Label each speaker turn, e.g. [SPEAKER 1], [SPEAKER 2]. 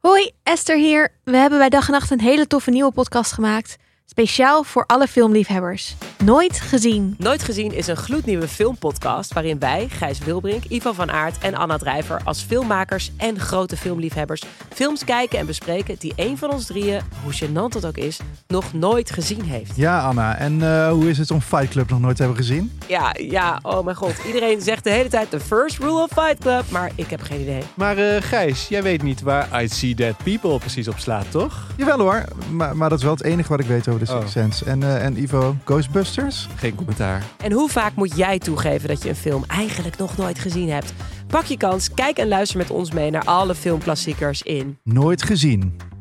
[SPEAKER 1] Hoi, Esther hier. We hebben bij Dag en Nacht een hele toffe nieuwe podcast gemaakt. Speciaal voor alle filmliefhebbers. Nooit gezien.
[SPEAKER 2] Nooit Gezien is een gloednieuwe filmpodcast waarin wij, Gijs Wilbrink, Ivan van Aert en Anna Drijver als filmmakers en grote filmliefhebbers films kijken en bespreken die één van ons drieën, hoe gênant dat ook is, nog nooit gezien heeft.
[SPEAKER 3] Ja, Anna. En eh, hoe is het om Fight Club nog nooit te hebben gezien?
[SPEAKER 2] Ja, ja, oh mijn god. Iedereen zegt de hele tijd de first rule of Fight Club, maar ik heb geen idee.
[SPEAKER 4] Maar eh, Gijs, jij weet niet waar I See Dead People precies op slaat, toch?
[SPEAKER 3] Jawel hoor, maar, maar dat is wel het enige wat ik weet over de Sixth
[SPEAKER 4] Oh.
[SPEAKER 3] Sense. En, eh, en Ivo, Ghostbusters?
[SPEAKER 4] Geen commentaar.
[SPEAKER 2] En hoe vaak moet jij toegeven dat je een film eigenlijk nog nooit gezien hebt? Pak je kans, kijk en luister met ons mee naar alle filmklassiekers in
[SPEAKER 3] Nooit gezien.